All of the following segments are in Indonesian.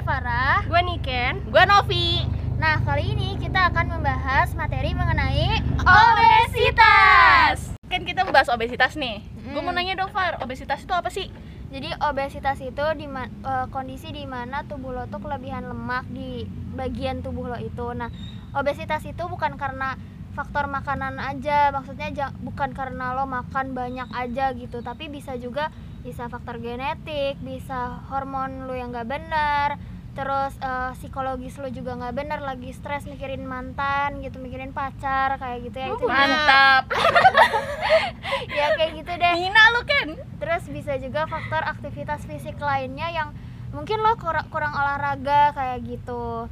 Farah Gue Niken Gue Novi. Nah kali ini kita akan membahas materi mengenai Obesitas. Kan kita membahas obesitas nih. Hmm. Gue mau Mm. nanya dong, Far, obesitas itu apa sih? Jadi obesitas itu di ma- eh, kondisi di mana tubuh lo tuh kelebihan lemak di bagian tubuh lo itu. Nah, obesitas itu bukan karena faktor makanan aja, maksudnya ja- bukan karena lo makan banyak aja gitu, tapi bisa juga bisa faktor genetik, bisa hormon lo yang gak benar, terus eh, psikologis lo juga nggak benar, lagi stres mikirin mantan gitu, mikirin pacar kayak gitu ya Oh, itu juga- iya. Mantap. Ah, ya kayak gitu eh. deh. Hina lu kan? Terus bisa juga faktor aktivitas fisik lainnya yang mungkin lo kurang, kurang olahraga kayak gitu.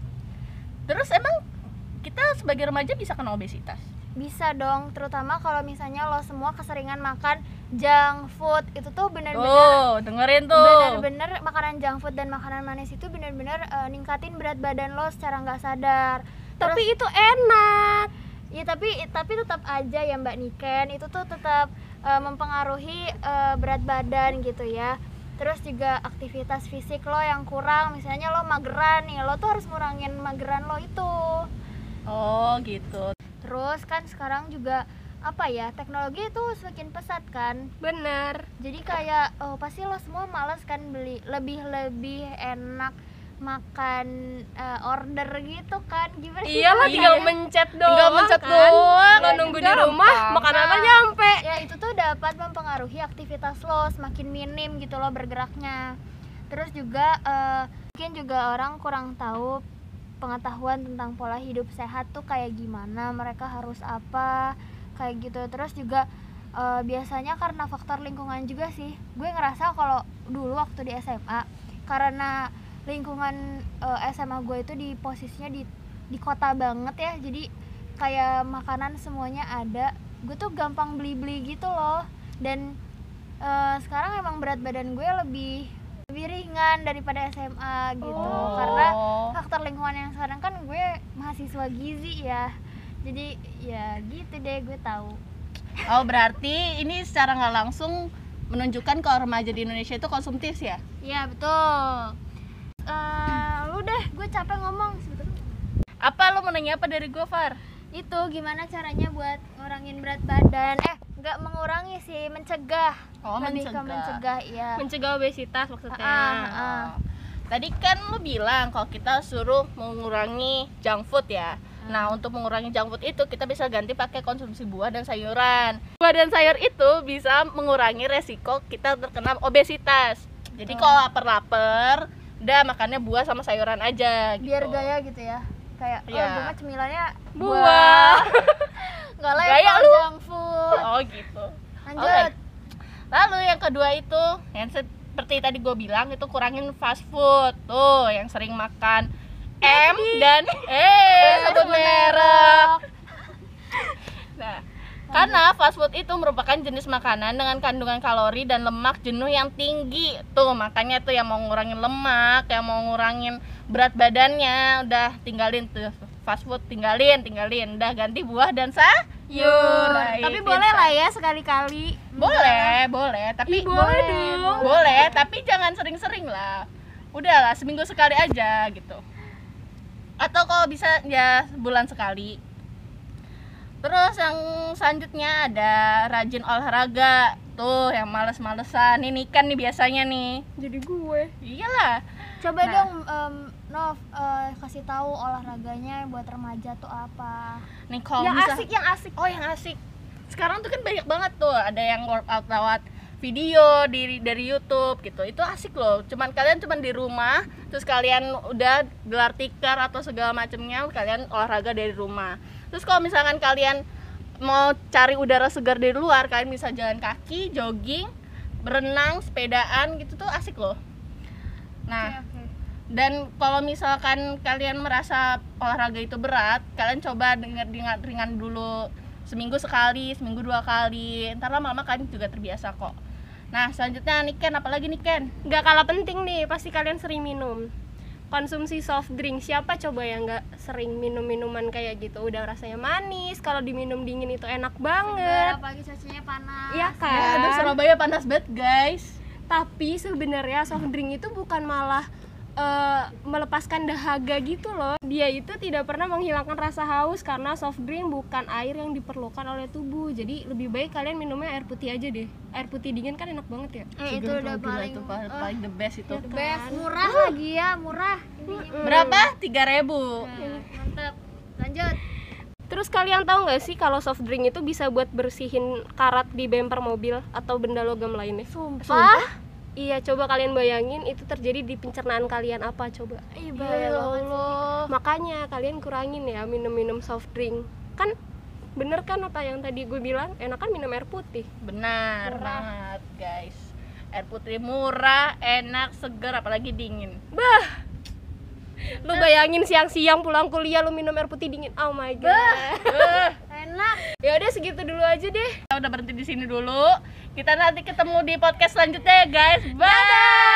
Terus emang kita sebagai remaja bisa kena obesitas? Bisa dong, terutama kalau misalnya lo semua keseringan makan junk food. Itu tuh bener-bener Tuh, dengerin tuh. bener-bener makanan junk food dan makanan manis itu bener-bener eh, ningkatin berat badan lo secara nggak sadar. Tapi itu enak Ya tapi tapi tetap aja ya Mbak Niken itu tuh tetap eh, mempengaruhi eh, berat badan gitu ya. Terus juga aktivitas fisik lo yang kurang, misalnya lo mageran nih, lo tuh harus ngurangin mageran lo itu. Oh, gitu. Terus kan sekarang juga apa ya teknologi itu semakin pesat kan Bener jadi kayak oh, pasti lo semua malas kan beli lebih lebih enak makan eh, order gitu kan gimana sih Iya lah Iya. tinggal mencet doang Tinggal mencet kan. doang. Lo nunggu di Gampang. rumah makanan lo Nah. nyampe ya itu tuh dapat mempengaruhi aktivitas lo semakin minim gitu lo bergeraknya terus juga eh, mungkin juga orang kurang tahu pengetahuan tentang pola hidup sehat tuh kayak gimana mereka harus apa kayak gitu terus juga eh, biasanya karena faktor lingkungan juga sih gue ngerasa kalau dulu waktu di SMA karena lingkungan eh, SMA gue itu di posisinya di di kota banget ya jadi kayak makanan semuanya ada gue tuh gampang beli-beli gitu loh dan eh, sekarang emang berat badan gue lebih lebih ringan daripada SMA gitu karena faktor lingkungan yang sekarang kan gue mahasiswa gizi ya jadi ya gitu deh gue tahu Oh, berarti ini secara nggak langsung menunjukkan kalau remaja di Indonesia itu konsumtif ya? ya betul Eh, lu deh gue capek ngomong sebetulnya Apa lo mau nanya apa dari gue, Far? itu gimana caranya buat ngurangin berat badan eh nggak mengurangi sih mencegah Oh, lebih mencegah. ke mencegah ya Mencegah obesitas maksudnya Ah, ah. Tadi kan lu bilang kalau kita suruh mengurangi junk food ya. Nah, untuk mengurangi junk food itu kita bisa ganti pakai konsumsi buah dan sayuran. Buah dan sayur itu bisa mengurangi resiko kita terkena obesitas. Jadi Betul. kalau lapar-lapar, udah makannya buah sama sayuran aja gitu. biar gaya gitu ya kayak Iya. oh gue mah cemilannya buah. nggak layak Gaya kalau lu. junk food oh, gitu. lanjut Alright. Lalu yang kedua itu yang seperti tadi gue bilang itu kurangin fast food tuh yang sering makan M dan eh sebut merek. Nah, karena fast food itu merupakan jenis makanan dengan kandungan kalori dan lemak jenuh yang tinggi. Tuh, makanya tuh yang mau ngurangin lemak, yang mau ngurangin berat badannya, udah tinggalin tuh fast food, tinggalin, tinggalin. Udah ganti buah dan sayur. Baik, tapi pintar. boleh lah ya Hmm. sekali-kali Nah, Boleh, boleh, tapi Iya. Ih, boleh dong. Boleh, tapi jangan sering-sering lah. Udahlah, seminggu sekali aja gitu. Atau kalau bisa ya bulan sekali. Terus yang selanjutnya ada rajin olahraga. Tuh, yang males-malesan. Ini kan nih biasanya nih. Jadi gue Iyalah. coba Nah. dong em, Nov eh, kasih tahu olahraganya buat remaja tuh apa Nih kalau Yang bisa- asik, yang asik Oh, yang asik. Sekarang tuh kan banyak banget tuh ada yang workout lewat video dari dari YouTube gitu. Itu asik loh. Cuman kalian cuman di rumah, terus kalian udah gelar tikar atau segala macemnya, kalian olahraga dari rumah. Terus kalau misalkan kalian mau cari udara segar dari luar, kalian bisa jalan kaki, jogging, berenang, sepedaan gitu tuh asik loh. Nah, Iya. Oke, oke. dan kalau misalkan kalian merasa olahraga itu berat kalian coba denger dengan ringan dulu seminggu sekali seminggu dua kali ntar lama-lama kalian juga terbiasa kok nah selanjutnya Niken apalagi Niken Gak kalah penting nih pasti kalian sering minum konsumsi soft drink siapa coba yang nggak sering minum minuman kayak gitu udah rasanya manis kalau diminum dingin itu enak Segar, banget apalagi cuacanya panas Iya ya kan aduh Surabaya panas banget guys tapi sebenarnya soft drink itu bukan malah eh, melepaskan dahaga gitu loh. Dia itu tidak pernah menghilangkan rasa haus karena soft drink bukan air yang diperlukan oleh tubuh. Jadi lebih baik kalian minumnya air putih aja deh. Air putih dingin kan enak banget ya. Eh, itu udah paling itu Kan? paling, eh, paling the best itu the best murah lagi ya murah Intinya. Hmm. berapa tiga ribu Nah, mantap lanjut Terus kalian tahu nggak sih kalau soft drink itu bisa buat bersihin karat di bemper mobil atau benda logam lainnya? sumpah, Iya, coba kalian bayangin itu terjadi di pencernaan kalian apa coba. Iya, Ih, ya bahaya banget sih. allah Makanya kalian kurangin ya minum-minum soft drink. Kan bener kan apa yang tadi gue bilang, enak kan minum air putih. benar Murah. banget guys air putih murah enak seger apalagi dingin Lu bayangin siang-siang pulang kuliah lu minum air putih dingin. Oh my god. Eh, enak Ya udah segitu dulu aja deh. kita udah berhenti di sini dulu kita nanti ketemu di podcast selanjutnya ya guys bye